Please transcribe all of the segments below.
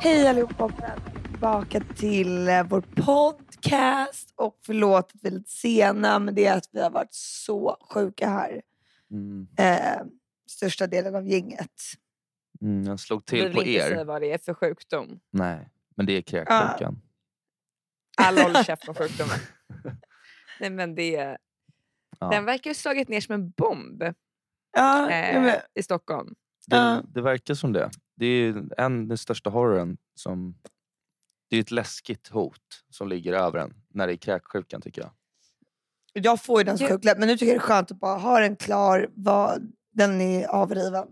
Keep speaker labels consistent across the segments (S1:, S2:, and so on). S1: Hej allihopa och välkomna tillbaka till eh, vår podcast. Och förlåt att vi är lite sena, men det är att vi har varit så sjuka här.
S2: Mm.
S1: Eh, största delen av gänget.
S2: Mm, jag slog
S3: Vi
S2: till
S3: vill
S2: på
S3: inte
S2: er.
S3: säga vad det är för sjukdom.
S2: Nej, men det är kräksjukan.
S3: Alla håller käft om sjukdomen. Nej, men det,
S2: Ja.
S3: Den verkar ha slagit ner som en bomb
S1: Ja,
S3: eh,
S1: ja, men,
S3: i Stockholm.
S1: ja.
S2: Det, det verkar som det. Det är ju en, den största horrorn. Som, det är ett läskigt hot som ligger över en när det är kräksjukan tycker jag.
S1: jag får ju den som
S3: Ja.
S1: sjukläpp, men nu tycker jag det är skönt att bara ha den klar. Vad, den är avriven.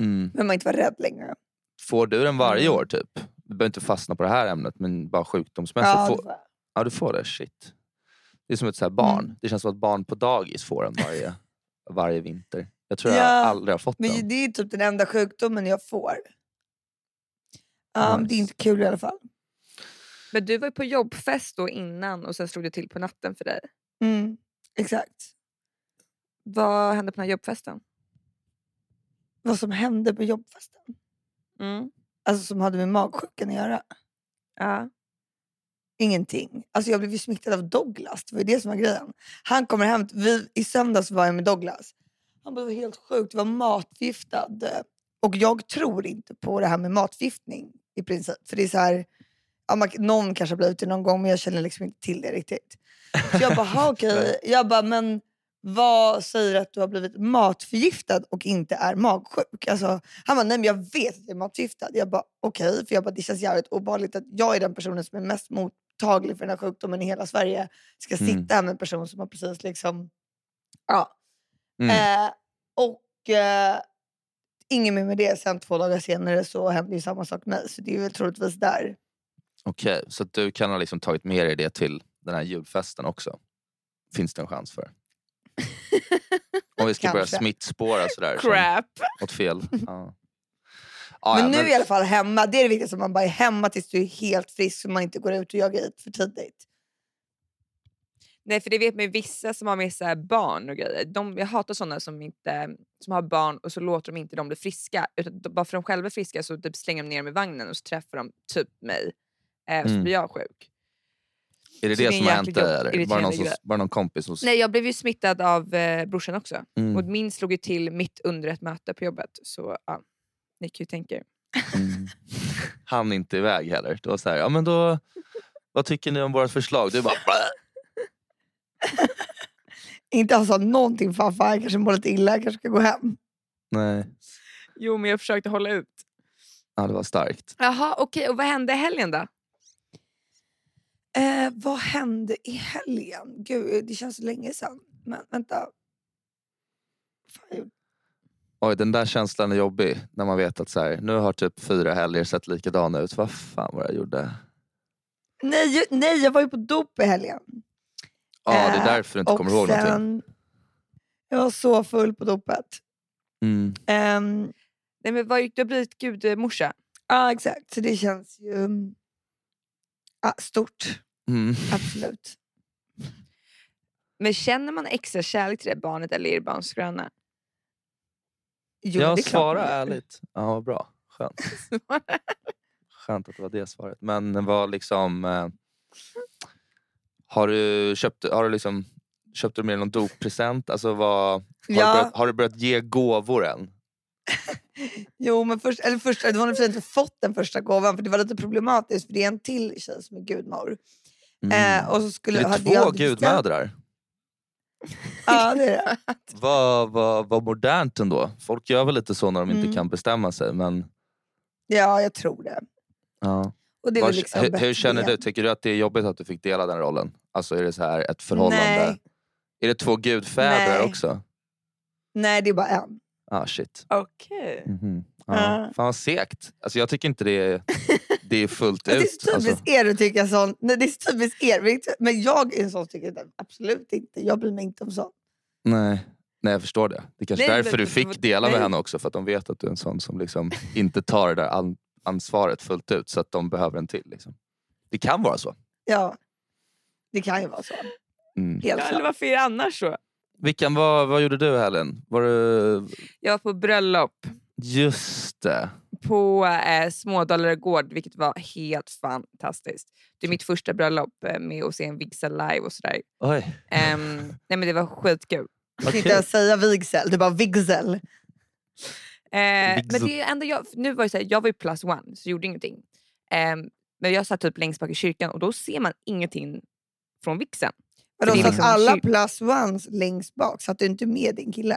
S2: Mm.
S1: Men man inte vara rädd längre.
S2: Får du den varje
S3: Mm.
S2: år typ? Du behöver inte fastna på det här ämnet men bara sjukdomsmässigt.
S1: ja,
S2: får,
S1: det får jag.
S2: ja, du får det. Shit. Det är som ett så här barn.
S1: Mm.
S2: Det känns som att barn på dagis får den varje, varje vinter. Jag tror
S1: Ja,
S2: jag aldrig har fått
S1: men ju-
S2: den.
S1: det är typ den enda sjukdomen jag får. Ja, men Det är
S2: Nice.
S1: inte kul i alla fall.
S3: Men du var ju på jobbfest då innan och sen slog det till på natten för dig.
S1: Mm, exakt.
S3: Vad hände på den här jobbfesten?
S1: Vad som hände på jobbfesten.
S3: Mm.
S1: alltså, som hade med magsjukan att göra?
S3: Ja.
S1: Ingenting. Alltså, jag blev ju smittad av Douglas. Det var ju det som var grejen. Han kommer hem. Vi, I söndags var jag med Douglas. Han bara, det var helt sjukt. Jag var matförgiftad. Och jag tror inte på det här med matförgiftning i princip. För det är så här, ja, man, någon kanske har blivit det någon gång men jag känner liksom inte till det riktigt. Så jag bara, "Ha, okej. Jag bara, men vad säger att du har blivit matförgiftad och inte är magsjuk? Alltså, han bara, nej men jag vet att jag är matförgiftad. Jag bara, okej. För jag bara, det känns jävligt obehagligt att jag är den personen som är mest mottaglig för den här sjukdomen i hela Sverige. Ska
S2: Mm.
S1: sitta här med en person som har precis liksom, ja.
S2: Mm.
S1: Eh, och eh, ingen mer med det. Sen två dagar senare så hände ju samma sak med mig. Så det är väl troligtvis där.
S2: Okej, så att du kan ha liksom tagit med dig det till den här julfesten också? Finns det en chans för? Om vi ska börja
S1: Kanske.
S2: smittspåra sådär som-
S3: Crap!
S2: åt fel. Ja. Ja,
S1: men
S2: ja,
S1: nu är jag i alla fall hemma. Det är det viktigaste. Man bara är hemma tills du är helt frisk så man inte går ut och jagar hit för tidigt.
S3: Nej, för det vet man ju vissa som har med sig barn och grejer. De, jag hatar sådana som, inte, som har barn och så låter de inte dem bli friska. Utan de, bara för de själva är friska så typ slänger de ner dem i vagnen och så träffar de typ mig. Eh, och så
S2: Mm.
S3: blir jag sjuk.
S2: Är det
S3: så
S2: det
S3: det är
S2: som har
S3: en
S2: hänt dig?
S3: jäkligt
S2: eller? Var det någon,
S3: irriterande
S2: som,
S3: grej.
S2: var det någon kompis som...
S3: Nej, jag blev ju smittad av eh, brorsan också.
S2: Mm,
S3: Och min slog ju till mitt under ett möte på jobbet. Så ja, ni kan ju tänka er.
S2: mm. Han inte iväg heller. Det var så här, ja men då... Vad tycker ni om vårt förslag? Du bara... "Bleh."
S1: Inte ha sagt någonting för fan, jag kanske mår lite illa, jag kanske ska gå hem.
S2: Nej.
S3: Jo, men jag försökte hålla ut.
S2: Ja, det var starkt.
S3: Jaha, okej. Och vad hände i helgen då?
S1: Eh, vad hände i helgen? Gud, det känns så länge sedan. Men vänta. Fan, jag gjorde-
S2: Oj, den där känslan är jobbig. När man vet att så här, nu har typ fyra helger sett likadana ut. Vad fan var det jag gjorde?
S1: Nej, ju- nej, jag var ju på dop i helgen.
S2: Ja, det
S1: Eh,
S2: är därför du inte kommer ihåg någonting.
S1: Jag var så full på dopet.
S2: Mm.
S1: Ehm,
S3: Nej, men vad, du har blivit gudmorsa.
S1: ja, exakt. Så det känns ju mm, ja, stort.
S2: Mm.
S1: Absolut.
S3: Men känner man extra kärlek till det barnet eller är det barnsgröna?
S1: Jo,
S2: jag
S1: det är klart
S2: svarar
S1: man gör.
S2: ärligt. Ja, vad bra. Skönt. Skönt att det var det svaret. Men vad liksom... Eh, har du köpt, har du liksom, köpte du med dig någon doppresent? Alltså vad, har,
S1: Ja.
S2: du börjat, har du börjat ge gåvor än?
S1: Jo, men först, eller först, det var nog för att jag inte fått den första gåvan för det var lite problematiskt för det är en till tjej som är gudmor. Eh, och så skulle,
S2: Mm. Det är
S1: hade
S2: två
S1: jag bestämt-
S2: gudmödrar.
S1: Ja, det är det.
S2: Vad vad- vad modernt ändå. Folk gör väl lite så när de
S1: Mm.
S2: inte kan bestämma sig. Men,
S1: Ja, jag tror det.
S2: ja.
S1: Och det är väl
S2: Vars-
S1: liksom
S2: hur, hur
S1: bättre
S2: känner
S1: det.
S2: du? Tycker du att det är jobbigt att du fick dela den rollen? Alltså är det så här ett förhållande?
S1: Nej,
S2: Är det två gudfäder
S1: Nej.
S2: också?
S1: nej, det är bara en.
S2: Ah, shit.
S3: Okej.
S2: Mhm. Ja.
S1: Ja.
S2: Fan vad segt. Alltså, jag tycker inte det är, det är fullt
S1: Men det är
S2: ut.
S1: så typiskt
S2: alltså.
S1: er att tycka sånt. Nej, det är så typiskt er. Men inte- Men jag är en sån som tycker det. absolut inte. Jag bryr mig inte om sånt.
S2: nej. nej, jag förstår det. Det är kanske
S3: Nej,
S2: därför
S3: men-
S2: du fick dela med
S3: nej.
S2: henne också. För att de vet att du är en sån som liksom inte tar det där an- ansvaret fullt ut. Så att de behöver en till. Liksom. Det kan vara så.
S1: Ja, det kan ju vara så.
S2: Mm.
S1: Helt
S3: Ja,
S1: klart.
S3: eller varför är det annars så?
S2: Vilken, vad, vad gjorde du Helen? Var du...
S3: Jag var på bröllop.
S2: Just det.
S3: på eh, Smådalare gård, vilket var helt fantastiskt. Det är mitt första bröllop eh, med att se en vigsel live och sådär.
S2: Oj.
S3: Ehm, nej men det var skitkul.
S1: Du kan
S2: Vad
S1: inte
S2: kul.
S1: ens säga vigsel, du bara vigsel.
S3: Eh, men
S2: Vigsel.
S3: det är ändå jag, nu var det så här, jag var ju plus one, så jag gjorde ingenting. Ehm, men jag satt typ längst bak i kyrkan och då ser man ingenting från vigseln.
S1: Vadå,
S2: det
S1: så
S2: är
S1: att
S2: liksom
S1: alla
S3: kyl-
S1: plus ones längst bak, så att du inte är med din kille?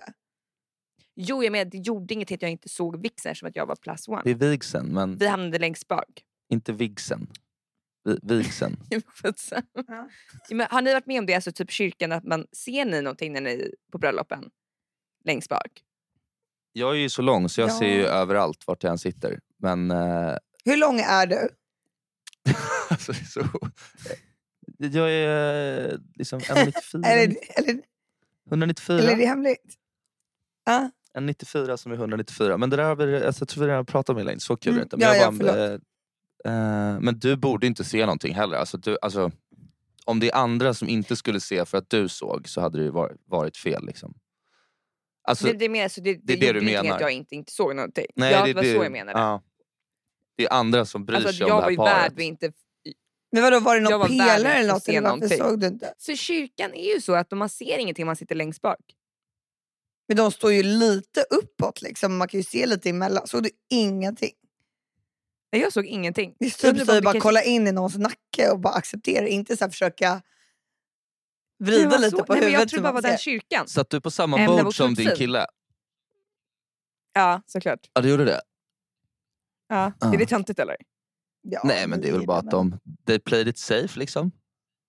S3: Jo, jag menar, det gjorde ingenting att jag inte såg vigseln eftersom att jag var plus one.
S2: Det är vigseln, men
S3: Vi hamnade längst bak.
S2: inte vigseln. Vi, vigseln.
S3: Skitsamma.
S1: Ja.
S3: Ja, men har ni varit med om det, alltså typ kyrkan, att man ser ni någonting när ni på bröllopen? Längst bak?
S2: Jag är ju så lång så jag
S1: Ja.
S2: ser ju överallt vart jag än sitter. Men eh,
S1: Hur lång är
S3: Mm.
S1: du?
S2: alltså, det är så... Jag är eh, liksom 194.
S1: Eller, eller,
S2: 194.
S1: eller är det hemligt? Ja.
S2: En 94 som är 194. Men det där har vi, alltså, jag tror vi redan har pratat om Elaine, så kul är
S1: Mm,
S2: det inte.
S1: ja,
S2: Men, jag
S1: ja,
S2: bara, eh, eh, men du borde inte se någonting heller. Alltså, du, alltså, om det är andra som inte skulle se för att du såg så hade det ju varit, varit fel. Liksom. Alltså,
S3: det, det, är mer, så det, det,
S2: det är det
S3: gjorde
S2: du
S3: ingenting
S2: menar.
S3: Att jag inte, inte såg någonting.
S2: nej,
S3: ja,
S2: det,
S3: det var
S2: det-
S3: så jag menade.
S2: ja. det är andra som bryr
S3: alltså, att
S2: sig
S3: jag
S2: om det
S3: var
S2: här
S3: ju värd
S2: paret.
S3: vid inte...
S1: Men vadå, var det
S3: Jag
S1: någon
S3: var värd
S1: pelare
S3: att
S1: eller
S3: få
S1: något?
S3: se
S1: Eller varför
S3: någonting.
S1: såg du inte?
S3: För kyrkan är ju så att man ser ingenting man sitter längst bak.
S1: Men de står ju lite uppåt, liksom. man kan ju se lite emellan. Såg du ingenting?
S3: Nej, Jag såg ingenting.
S1: Det är
S3: Jag
S1: typ
S3: undrar
S1: så att
S3: om det
S1: bara
S3: kanske-
S1: kolla in i någons nacke och bara acceptera, inte så här försöka
S3: Nej,
S1: vrida
S3: men
S1: lite
S3: så-
S1: på
S3: nej, men
S1: huvudet.
S3: Jag tror
S1: som
S3: bara
S1: man
S3: var den
S1: ser.
S3: kyrkan.
S2: Satt du på samma
S3: Ämne
S2: bord
S3: vårt
S2: som din
S3: uppsyn.
S2: kille?
S3: Ja, såklart.
S2: Ja, du gjorde det?
S3: Ja.
S2: Ja.
S3: Är det töntigt eller?
S1: Ja,
S2: Nej, men det är väl bara att de they played it safe liksom.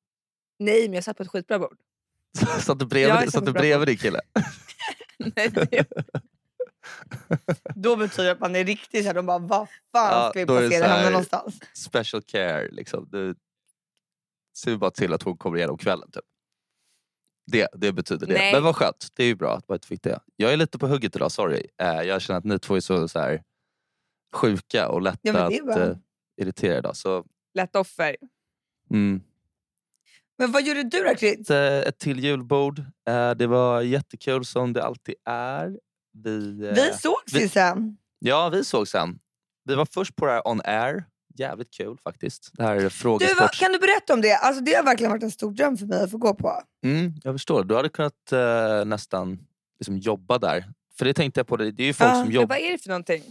S3: Nej, men jag satt på ett skitbra bord.
S2: Satt du
S3: Ja,
S2: bredvid,
S3: jag
S2: satt
S3: satt
S2: du
S3: bra på-
S2: bredvid din kille?
S3: Nej, det är-
S1: Då betyder det att man är riktigt såhär, de bara vad fan
S2: Ja,
S1: ska vi
S2: då är det
S1: placera
S2: så
S1: henne
S2: här-
S1: någonstans?
S2: special care. Liksom. Du ser bara till att hon kommer igenom kvällen. Typ. Det, det betyder det.
S3: Nej.
S2: Men vad skönt. Det är ju bra att man inte fick det. Jag är lite på hugget idag, sorry. Eh, jag känner att ni två är så, så här, sjuka och lätta
S1: Ja, men det är
S2: att
S1: bra.
S2: eh, irritera idag. Så,
S3: lätt offer.
S2: mm.
S1: Men vad gjorde du då Chris?
S2: ett, eh, ett till julbord. Eh, det var jättekul som det alltid är. Vi, eh,
S1: Vi sågs ju
S2: vi-
S1: sen.
S2: Ja, vi såg sen. Vi var först på det här on air. Jävligt kul faktiskt. Det här är
S1: Du, vad,
S2: frågesports...
S1: kan du berätta om det? Alltså, det har verkligen varit en stor dröm för mig att få gå på.
S2: Mm, jag förstår. Du hade kunnat eh, nästan liksom, jobba där. För det tänkte jag på, det, det är ju folk
S1: Ja,
S2: som
S3: Men
S2: jobbar.
S3: vad är det för någonting?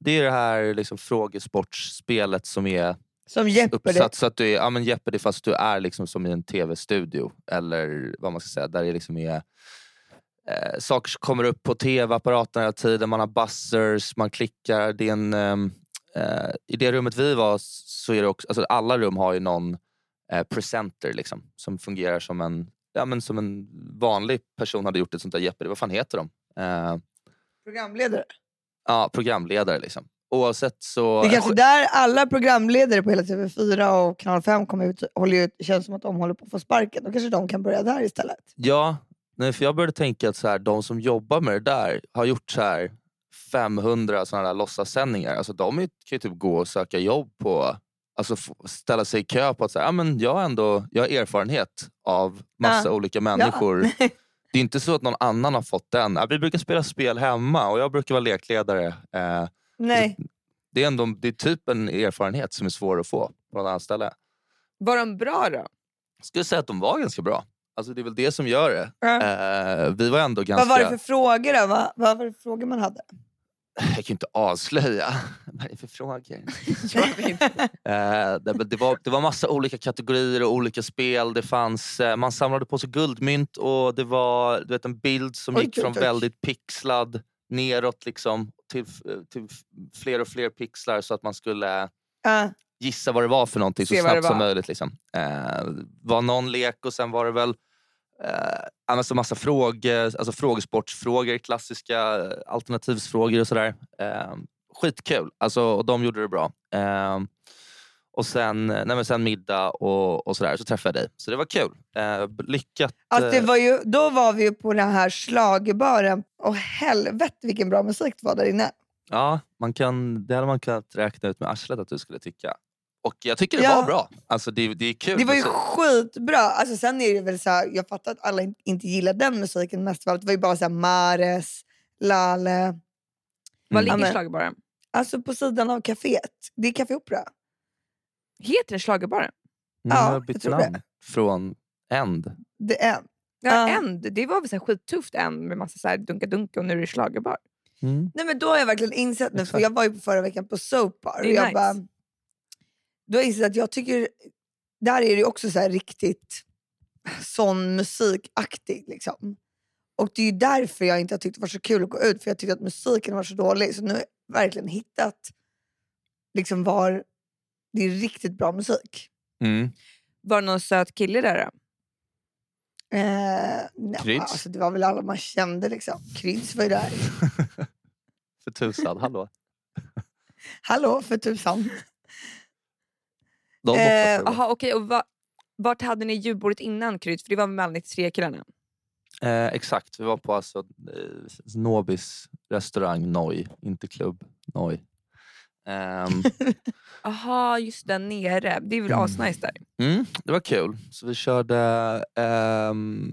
S2: Det är det här liksom, frågesportspelet som är
S1: Som Jeopardy.
S2: uppsatt så att du är, ja, men Jeopardy fast du är liksom som i en tv-studio. Eller vad man ska säga, där det liksom är eh, saker som kommer upp på tv-apparaten hela tiden. Man har buzzers, man klickar. Det är en, ehm, eh, I det rummet vi var så är det också, alltså alla rum har ju någon eh, presenter liksom, som fungerar som en, ja, men som en vanlig person hade gjort ett sånt där Jeopardy. Vad fan heter de? Eh,
S1: Programledare.
S2: ja, programledare liksom. Oavsett så...
S1: Det är kanske där alla programledare på hela TV4 och Kanal 5 kommer ut, håller ju, känns som att de håller på att få sparken. Då kanske de kan börja där istället.
S2: Ja, nej, för jag började tänka att så här, de som jobbar med det där har gjort så här 500 sådana där låtsassändningar. Alltså, de är- kan ju typ gå och söka jobb på, alltså f- ställa sig i kö på att så här, ah, men jag, har ändå, jag har erfarenhet av massa
S1: Ja.
S2: olika människor. Det är inte så att någon annan har fått den. Ah, vi brukar spela spel hemma och jag brukar vara lekledare. Eh,
S1: Nej.
S2: det, är ändå, det är typ en erfarenhet som är svår att få på något annat ställe.
S3: Var de bra då?
S2: Jag skulle säga att de var ganska bra. Alltså, det är väl det som gör det. Eh, vi var ändå ganska...
S1: Vad var det för frågor då? Vad, vad var det för frågor man hade?
S2: Jag kan ju inte avslöja. Vad är det för frågor?
S3: Jag vet inte.
S2: Eh, det, men det, var, det var massa olika kategorier och olika spel. Det fanns, eh, man samlade på sig guldmynt och det var du vet, en bild som
S1: Oj,
S2: gick
S1: oj,
S2: från
S1: oj.
S2: väldigt pixlad neråt liksom, till, f- till f- fler och fler pixlar så att man skulle
S1: Ja.
S2: gissa vad det var för någonting så
S3: Se vad det
S2: snabbt som
S3: var.
S2: möjligt. Liksom. Eh, var någon lek och sen var det väl eh, annars en massa frågor, alltså frågesportsfrågor, klassiska eh, alternativsfrågor och sådär. Eh, skitkul, alltså, och de gjorde det bra. Eh, och sen, nej men sen middag och, och sådär, så träffade jag dig. Så det var kul. Eh, b- lyckat.
S1: Alltså, det
S2: eh,
S1: var ju, då var vi ju på den här slagbaren och helvete vilken bra musik det var där inne.
S2: eh, ja, man kan, det hade man kunnat räkna ut med arslet att du skulle tycka. Och jag tycker det
S1: Ja.
S2: var bra. Alltså det, det är kul.
S1: Det var ju
S2: musik.
S1: skitbra. Alltså, sen är det väl så här, jag fattar att alla in- inte gillar den musiken mest av allt. Det var ju bara så här, Mares, Lale.
S3: Var
S2: Mm.
S1: Ja,
S3: ligger
S1: men-
S3: slagbaren?
S1: Alltså på sidan av kaféet. Det är Café Opera.
S3: Heter den schlagerbaren?
S2: Nu har
S1: Ja,
S2: jag bytt
S1: jag tror det.
S2: namn från End.
S1: Det är en.
S3: Ja,
S1: Ja.
S3: End. Det var väl så här skittufft End med massa så här dunka-dunka och nu är det schlagerbar.
S2: Mm.
S1: Nej men då har jag verkligen insett nu, för
S2: Exakt.
S1: jag var ju på förra veckan på Soapbar
S3: Det
S1: och
S3: är
S1: jag
S3: nice.
S1: bara, då har jag insett att jag tycker, där är det ju också så här riktigt sån musikaktig liksom. Och det är ju därför jag inte har tyckt det var så kul att gå ut, för jag tyckte att musiken var så dålig. Så nu har jag verkligen hittat liksom var det är riktigt bra musik.
S2: Mm.
S3: Var det någon söt kille där då?
S1: Eh, nej,
S2: Kryds.
S1: Alltså, det var väl alla man kände liksom. Kryds var ju där.
S2: För tusan, hallå.
S1: Hallå för tusan.
S2: De
S1: Eh,
S2: eh,
S3: Jaha okej, och va, vart hade ni julbordet innan Krydd? För det var med alla 93 killarna.
S2: eh, exakt, vi var på alltså, eh, Nobis restaurang Noj, inte klubb Noj. Ehm,
S3: Jaha, just där nere. Det är väl
S2: Mm.
S3: asnice där?
S2: Mm, det var kul. Så vi körde ehm,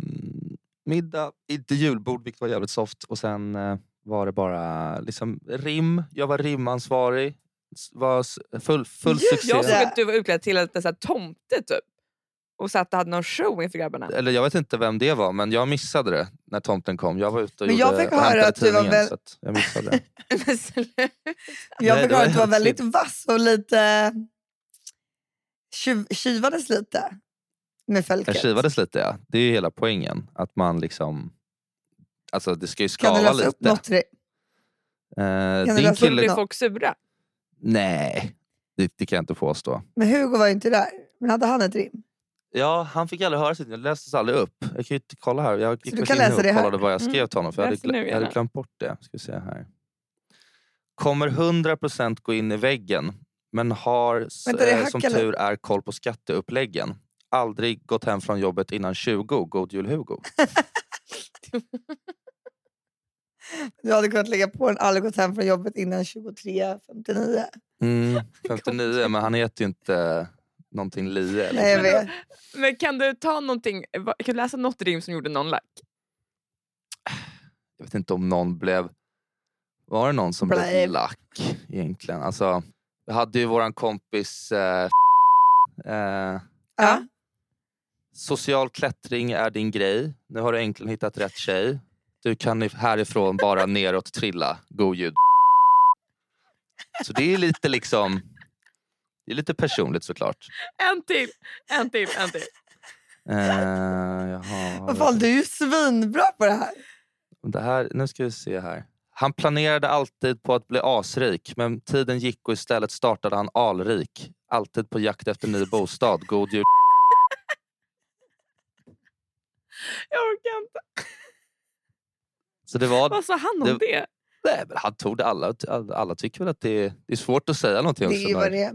S2: middag, inte julbord vilket var jävligt soft. Och sen eh, var det bara liksom, rim. Jag var rimansvarig. S- Var s- full full
S1: Just
S2: succé.
S3: Jag såg
S1: det.
S3: att du var utklädd till en så här tomte typ. Och satt och hade någon show inför grabbarna.
S2: Eller jag vet inte vem det var, men jag missade det när tomten kom. Jag var ute och,
S1: Men jag
S2: gjorde,
S1: fick
S2: och
S1: höra
S2: hämtade
S1: att du var
S2: tidningen,
S1: väl-
S2: så att jag missade det.
S3: Men sluta.
S1: Jag
S2: Nej,
S1: fick
S2: det var
S1: höra att du var
S2: helt
S1: väldigt vass och lite tjuv, tjuvades lite med
S2: Jag
S1: fälket.
S2: kivades lite, ja. Det är ju hela poängen. Att man liksom... Alltså det ska ju
S1: Kan du
S2: skava
S1: läsa
S2: lite.
S1: upp något? till dig?
S2: Eh,
S1: du
S2: din
S1: läsa upp
S3: Då blev
S2: kille...
S1: något?
S3: folk sura.
S2: Nej, det, det kan jag inte påstå.
S1: Men Hugo var ju inte där. Men hade han ett rim?
S2: Ja, han fick aldrig höra sitt. Jag läste aldrig upp. Jag kan ju inte kolla här. Jag gick
S1: du
S2: precis
S1: kan
S2: in
S1: läsa
S2: och
S1: det här?
S2: kollade vad jag skrev
S3: Mm,
S2: till honom. För jag, hade,
S3: läs det nu
S2: glö- jag hade
S3: gärna.
S2: glömt bort det. Ska vi se här. Kommer 100% gå in i väggen. Men har s-
S1: Vänta, det
S2: eh, som
S1: hackar lite.
S2: tur är koll på skatteuppläggen. Aldrig gått hem från jobbet innan 20. God jul Hugo.
S1: Du hade kunnat lägga på en aldrig gått hem från jobbet innan 23.59.
S2: Mm, 59, men han heter ju inte någonting Lie.
S1: Nej, jag
S2: Eller?
S3: Men
S1: vet.
S3: Men kan du ta någonting, eh, va- kan du läsa något rim som gjorde någon lack?
S2: Jag vet inte om någon blev... Var det någon som blev
S1: Blev.
S2: lack egentligen? Alltså, vi hade ju våran kompis... Eh, eh,
S1: Ja.
S2: Social klättring är din grej. Nu har du äntligen hittat rätt tjej. Du kan if- härifrån bara neråt trilla. God ljud. Så det är lite liksom... Det är lite personligt såklart.
S3: En till, en till, en till.
S2: Eh, jaha,
S1: Vad fan, du är ju svinbra på det här.
S2: Det här, nu ska vi se här. Han planerade alltid på att bli asrik, men tiden gick och istället startade han alrik. Alltid på jakt efter ny bostad. God jul.
S3: Jag orkar inte.
S2: Så det var...
S3: Vad sa han om
S2: Det-
S3: det?
S2: Nej, men han tog det. Alla, alla tycker väl att det är, det är svårt att säga någonting. om
S1: Det är ju
S2: sådana-
S1: vad det är.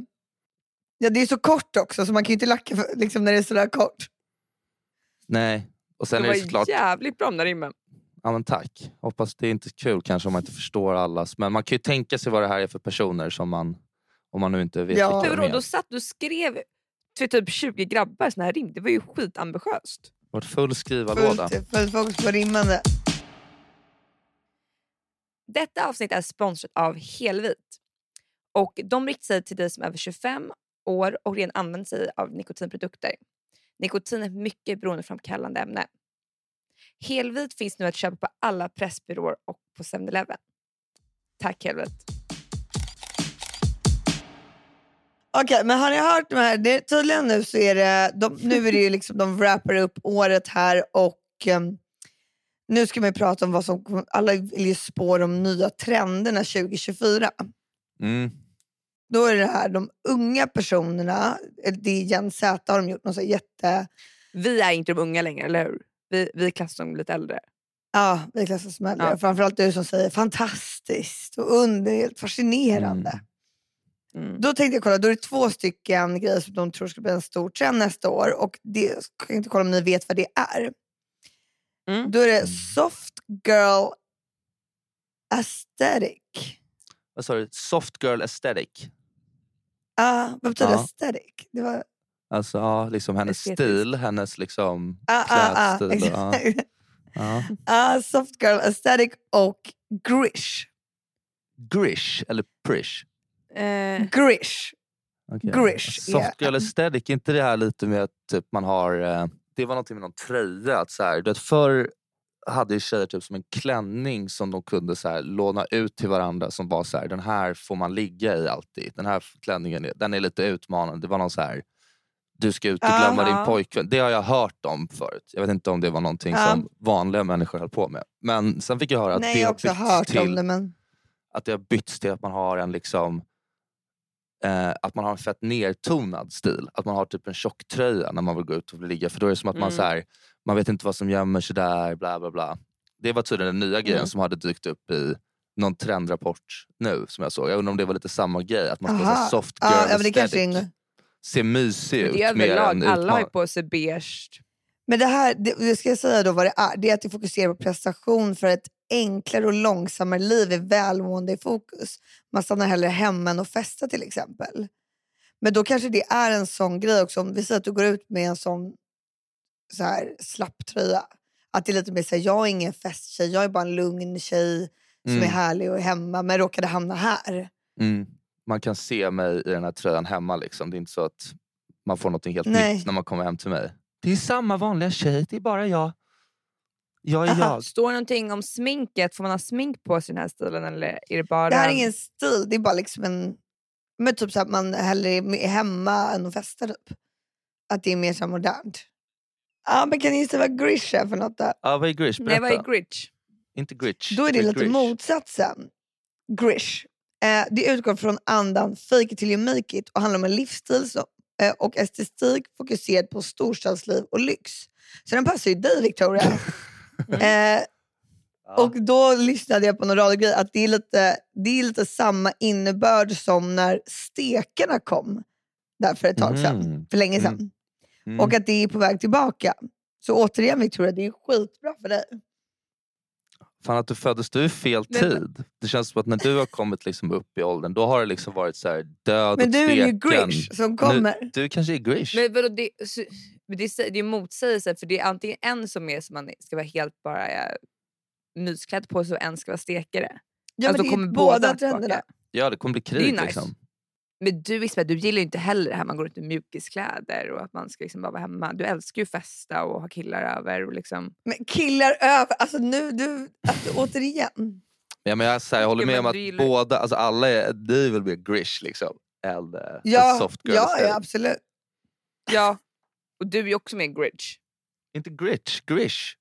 S1: Ja, det är så kort också, så man kan ju inte lacka för, liksom, när det är sådär kort.
S2: Nej. Och sen
S3: det
S2: är
S3: var
S2: det såklart...
S3: jävligt bra de där rimmen.
S2: Ja, men tack. Hoppas det är inte kul kanske om man inte förstår allas. Men man kan ju tänka sig vad det här är för personer som man... Om man nu inte vet
S1: Ja.
S2: vilka
S3: Men
S2: de
S3: vadå, då
S2: är.
S3: satt du och skrev till typ 20 grabbar såna här rim. Det var ju skitambitiöst.
S2: Vart full skrivarlåda.
S1: Fullt, fullt fokus på rimmande.
S3: Detta avsnitt är sponsrat av Helvit. Och de riktar sig till dig som är över 25 år och redan använder sig av nikotinprodukter. Nikotin är ett mycket beroendeframkallande ämne. Helvit finns nu att köpa på alla pressbyråer och på 7-Eleven. Tack Helvit.
S1: Okej, men har ni hört de här? Det, tydligen nu så är det, de, nu är det ju liksom, de wrappar upp året här och em, nu ska man ju prata om vad som kommer- alla vill ju spå de nya trenderna 2024.
S2: Mm.
S1: Då är det här, de unga personerna, eh, det är Gen Z, har de gjort någon så här jätte,
S3: Vi är inte de unga längre, eller hur? Vi, vi klassas som lite äldre.
S1: ja vi klassas som äldre.
S3: Ja.
S1: Framförallt du som säger fantastiskt och under, helt fascinerande.
S2: Mm.
S3: Mm.
S1: Då tänkte jag kolla, då är det två stycken grejer som de tror ska bli en stor trend nästa år. Och det, jag kan inte kolla om ni vet vad det är.
S3: Mm.
S1: Då är det soft girl aesthetic.
S2: Vad sa du? Soft girl aesthetic.
S1: Ah, vad betyder
S2: Ja.
S1: aesthetic? Det var,
S2: Alltså ja, liksom hennes
S3: Estetiskt.
S2: stil, hennes liksom
S1: ah, ah, ah,
S2: klädstil. och-
S1: exakt.
S2: ja.
S1: Ah, soft girl aesthetic och grish.
S2: Grish eller Prish?
S3: Eh,
S1: Grish.
S2: Okay.
S1: Grish är-
S2: Softgirl aesthetic, är inte det här lite med att typ, man har... eh, Det var någonting med någon tröja. Att så här, du vet, förr hade ju tjejer typ som en klänning som de kunde så här, låna ut till varandra. Som var så här, den här får man ligga i alltid. Den här klänningen är, den är lite utmanande. Det var någon så här, du ska ut och glömma
S3: Aha.
S2: din pojkvän. Det har jag hört om förut. Jag vet inte om det var någonting
S1: Ja.
S2: som vanliga människor höll på med. Men sen fick jag höra att
S1: Nej,
S2: det
S1: jag har
S2: har
S1: också
S2: bytts
S1: hört
S2: till
S1: om det men...
S2: att det har bytts till att man har en liksom eh, att man har en fett nertonad stil. Att man har typ en tjocktröja när man vill gå ut och vill ligga. För då är det som att man
S3: Mm.
S2: så här, man vet inte vad som gömmer sig där, bla bla bla. Det var tydligen den nya grejen
S1: Mm.
S2: som hade dykt upp i någon trendrapport nu som jag såg. Jag undrar om det var lite samma grej, att man ska vara
S1: Aha.
S2: soft girl
S1: Ja, ja, men det kanske är
S2: aesthetic.
S1: en...
S2: Se mysig
S3: men
S2: ut
S3: det är
S2: mer
S3: överlag.
S2: än
S3: Alla har ju
S2: utmanande.
S3: på sig beige.
S1: Men det här, det, det ska jag säga då vad det är. Det är att du fokuserar på prestation för ett enklare och långsammare liv är välmående i fokus. Man stannar hellre hemma än att festa till exempel. Men då kanske det är en sån grej också. Om vi säger att du går ut med en sån så här, slapp tröja. Att det är lite mer såhär, jag är ingen festtjej, jag är bara en lugn tjej som
S2: Mm.
S1: är härlig och är hemma men råkade hamna här.
S2: Mm. Man kan se mig i den här tröjan hemma. Liksom. Det är inte så att man får något helt
S1: Nej.
S2: nytt när man kommer hem till mig. Det är samma vanliga tjej, det är bara jag. Jag är
S1: Aha.
S2: jag.
S3: Står det någonting om sminket? Får man ha smink på sig i den här stilen? Eller är det bara...
S1: Det här är ingen stil, det är bara liksom en... Men typ så att man hellre är hemma än att festa typ. Att det är mer så här modernt. Ja, men kan ni gissa vad Grish är för något då?
S2: Ja, vad är Grish?
S3: Nej,
S2: Berätta.
S3: vad är gritch?
S2: inte Gritch.
S1: Då är det
S2: Vad
S1: lite
S2: Grish?
S1: motsatsen. Grish. Eh, det utgår från andan fake it till you make it och handlar om en livsstil som, eh, och estetik fokuserad på storstadsliv och lyx. Så den passar ju dig Victoria. eh,
S2: Ja.
S1: Och då lyssnade jag på någon radiogrej att det är, lite, det är lite samma innebörd som när stekarna kom där för ett tag sedan,
S2: Mhm.
S1: för länge sedan.
S2: Mm.
S1: Och att det är på väg tillbaka. Så återigen Victoria, det är skitbra för dig.
S2: Fan att du föddes, du är i fel
S3: Men-
S2: tid. Det känns som att när du har kommit liksom upp i åldern, då har det liksom varit så här död
S1: Men
S2: och
S1: du är ju
S2: tvekan.
S1: Grish som kommer.
S2: Nu, du kanske är Grish.
S3: Men vadå, det, så, men det, sä- det är motsägelse för det är antingen en som är som man ska vara helt bara eh, mysklädd på sig och en ska vara stekare.
S1: Ja,
S3: alltså,
S1: men det
S3: då
S1: är
S3: kommer
S1: ju
S3: båda
S1: båda
S3: tillbaka.
S1: trenderna.
S2: Ja, det kommer bli krig.
S3: Det är nice.
S2: liksom.
S3: Men du Isabel, du gillar ju inte heller det här man går ut i mjukiskläder och att man ska liksom bara vara hemma. Du älskar ju festa och ha killar över och liksom.
S1: Men killar över, alltså nu, du, alltså, återigen.
S2: Ja, men jag, så här, jag håller
S3: Ja,
S2: med
S3: men
S2: om att
S3: du gillar-
S2: båda, alltså alla är, ni vill bli Grish liksom. Eller
S1: Ja,
S2: soft girl
S1: ja,
S2: istället.
S1: ja absolut.
S3: Ja. Och du är ju också med Grinch.
S2: Inte Gritch, Grish.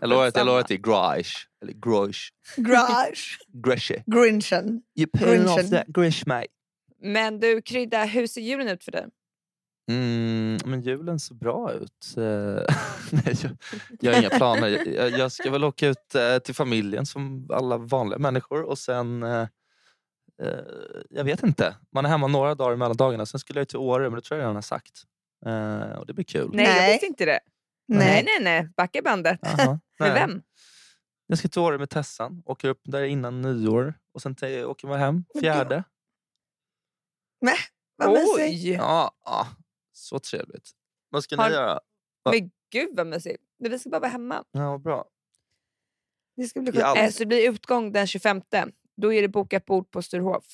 S2: Jag lovar att, jag lovar att det är Grish. Eller Grosh.
S1: Grish,
S2: Grishy.
S1: Grinchen.
S2: You paying off
S1: Grinchen.
S2: that Grish mate.
S3: Men du Krydda, hur ser julen ut för dig?
S2: Mm, men julen ser bra ut. Eh, Nej, jag, jag har inga planer. Jag, jag ska väl åka ut eh, till familjen som alla vanliga människor och sen... eh, eh, Jag vet inte. Man är hemma några dagar mellan dagarna. Sen skulle jag till Åre, men det tror jag redan har sagt. Eh, Och det blir kul.
S3: Nej, jag
S1: Nej.
S3: visste inte det. Nej,
S1: Nej.
S3: nej, nej. Backa bandet.
S2: Jaha, nej.
S3: Med vem?
S2: Jag ska till Åre med Tessan. Åker upp där innan nyår. Och sen te- åker man hem
S1: Vad
S2: fjärde.
S1: Vad mysigt.
S2: Ja, ja, så trevligt. Vad ska
S3: Har-
S2: ni göra?
S3: Men gud vad mysigt. Nej, Vi ska bara vara hemma.
S2: Ja, vad bra.
S1: Det ska bli
S2: Ja,
S1: sjukt.
S3: Eh, Så det blir utgång den 25. Då är det bokat bord på Sturehof.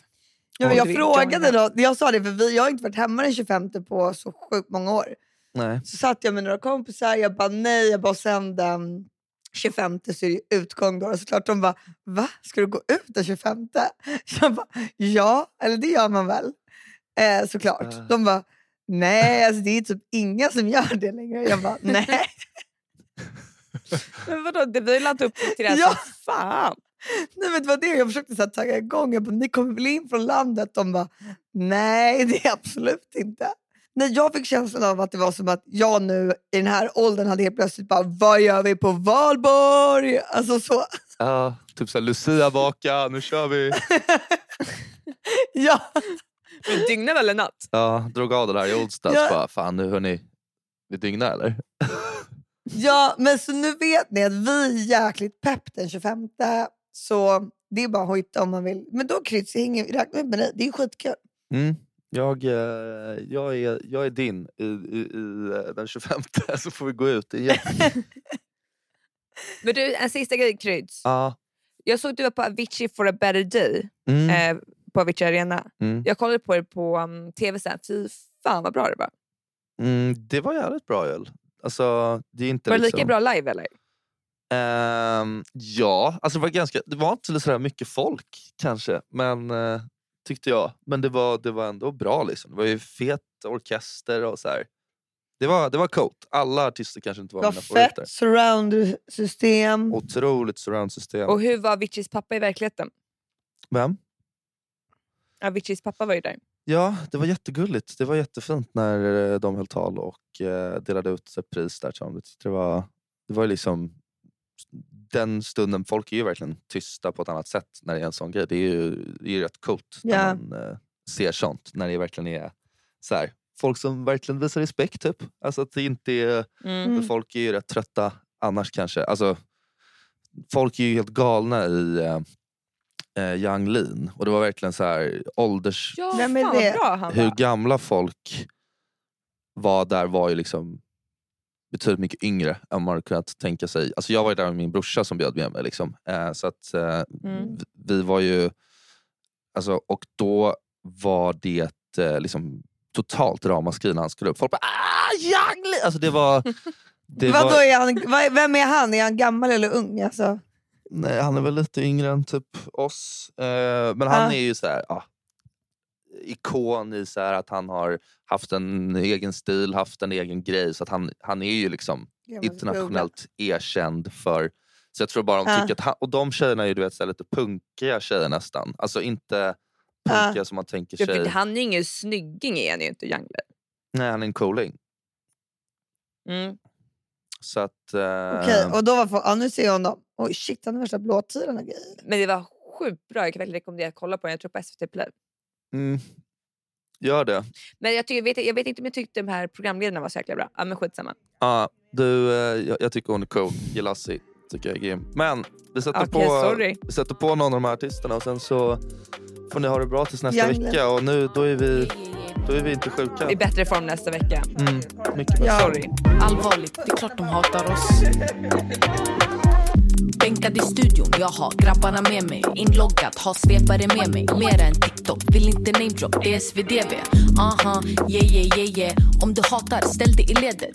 S1: Ja, men
S3: Om
S1: jag
S3: du vill
S1: frågade
S3: joina.
S1: då, jag sa det för vi, jag har inte varit hemma den 25 på så sjukt många år.
S2: Nej.
S1: Så satt jag med några kompisar, jag bara nej, jag bara sen den 25 så är det ju utgång då. Och Såklart de bara, va? Ska du gå ut den 25? Jag bara, ja, eller det gör man väl? Eh, såklart.
S2: Ah.
S1: De bara, nej, alltså, det är typ inga som gör det längre. Jag bara, nej.
S3: Men vadå, det, vi har ju laddat upp till det här
S1: Ja.
S3: som fan.
S1: nej men det var det jag försökte så här, tagga igång. Jag bara, ni kommer väl in från landet? De bara, nej det är absolut inte. Nej, jag fick känslan av att det var som att jag nu i den här åldern hade helt plötsligt bara, vad gör vi på valborg? Alltså så.
S2: Ja, typ såhär Lucia baka, nu kör vi.
S1: ja.
S3: Vi dygnar väl en natt?
S2: Ja, drog av det där i onsdags.
S1: Ja.
S2: Bara, fan nu hörni, vi dygnar eller?
S1: ja, men så nu vet ni att vi är jäkligt pepp den 25. Så det är bara att hojta om man vill. Men då Kryds, jag hänger- räknar vi med dig. Det är skitkul.
S2: Mm. Jag, eh, jag, är, jag är din i, i, i eh, den 25 så får vi gå ut igen.
S3: Men du, en sista grej Kryds.
S2: Ja,
S3: Jag såg att du var på Avicii for a better day
S2: Mm,
S3: eh, på Avicii Arena.
S2: mm,
S3: Jag kollade på det på um, tv sen. Fy fan vad bra det var.
S2: mm, det var jävligt bra öl. Alltså, det är inte
S3: Var det
S2: liksom...
S3: lika bra live eller?
S2: Ehm, ja, alltså det, var ganska, det var inte så där mycket folk kanske, men eh, tyckte jag. Men det var, det var ändå bra. Liksom. Det var ju fet orkester och så här. Det var, det var coolt. Alla artister kanske inte var
S1: Vad
S2: mina favoriter.
S1: fett surround-system.
S2: Otroligt surroundsystem.
S3: Och hur var Aviciis pappa i verkligheten?
S2: Vem?
S3: Aviciis pappa var ju där.
S2: Ja, det var jättegulligt. Det var jättefint när eh, de höll tal och eh, delade ut ett pris där till honom. Jag tyckte Det var, det var ju liksom den stunden, folk är ju verkligen tysta på ett annat sätt när det är en sån grej. Det är ju, det är ju rätt coolt
S1: Ja.
S2: när man eh, ser sånt. När det verkligen är så här, folk som verkligen visar respekt. Typ. Alltså att det inte är,
S3: Mm.
S1: Mm.
S2: för folk är ju rätt trötta annars kanske. Alltså, folk är ju helt galna i eh, eh, Yang Lean och det var verkligen så här ålders
S3: Ja,
S1: Nej, men
S3: fan vad
S1: det-
S3: bra han
S2: hur
S3: var.
S2: gamla folk var där var ju liksom betydligt mycket yngre än man hade kunnat tänka sig. Alltså jag var ju där med min brorsa som bjöd med mig. Liksom. Eh, så att, eh,
S3: Mm.
S2: vi- vi var ju... Alltså, och då var det eh, liksom totalt ramaskri när han skulle upp. Folk bara ah, Yang Lean!" Alltså det var... Det
S1: Vadå,
S2: var
S1: är han, vad- vem är han? Är han gammal eller ung? Alltså,
S2: nej, han är väl lite yngre än typ oss. Eh, men han
S1: Ah.
S2: är ju så här, ah, ikon i så här att han har haft en egen stil, haft en egen grej. Så att han, han är ju liksom
S1: gammal
S2: internationellt erkänd för... Så jag tror bara de
S1: Ah.
S2: tycker att han, Och de tjejerna är ju du vet, så här, lite punkiga tjejer nästan. Alltså inte
S1: Ah.
S2: punkiga som man tänker
S3: Ja, för
S2: sig.
S3: han är ju ingen snygging är han ju inte, Young Lean.
S2: Nej, han är en cooling.
S3: Mm.
S2: Så att... eh,
S1: Okej, och då var folk, ja, nu ser jag honom. Oj shit, han har värsta blåtiran och grejer.
S3: Men det var sjukt bra. Jag kan verkligen rekommendera att kolla på den. Jag tror på SVT Play.
S2: mm, gör det.
S3: Men jag, tycker, jag, vet, jag vet inte om jag tyckte de här programledarna var så jäkla bra. Ja, men skitsamma.
S2: Ja, du, eh, jag, jag tycker hon är cool. Gelassi tycker jag är grym. Men vi sätter,
S3: Okej,
S2: på,
S3: sorry.
S2: vi sätter på någon av de här artisterna och sen så får ni ha det bra tills nästa
S1: Young
S2: vecka. Och nu, då är vi, då är vi inte sjuka.
S3: I bättre form nästa vecka.
S2: Mm, mycket bättre.
S1: Ja.
S3: Sorry.
S4: Allvarligt, det är klart de hatar oss. Bänkad i studion, jag har grabbarna med mig. Inloggat, har svepare med mig. Mer än TikTok, vill inte namedrop, det är SvDB. Aha, yeah yeah yeah yeah. Om du hatar, ställ dig i ledet.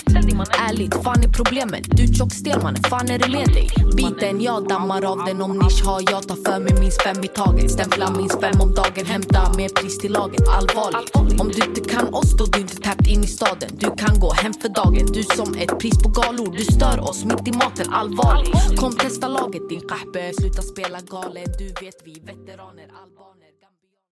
S4: Ärligt, fan är problemet? Du tjockstel mannen, fan är det med dig? Biten, jag dammar av den om nisch har. Jag tar för mig minst fem i taget. Stämpla minst fem om dagen, hämta mer pris till laget. Allvarligt, om du inte kan oss då du inte tappt in i staden. Du kan gå hem för dagen, du som ett pris på galor. Du stör oss mitt i maten, allvarligt. Kom testa laget din kahpe, sluta spela galet. Du vet vi veteraner, albaner.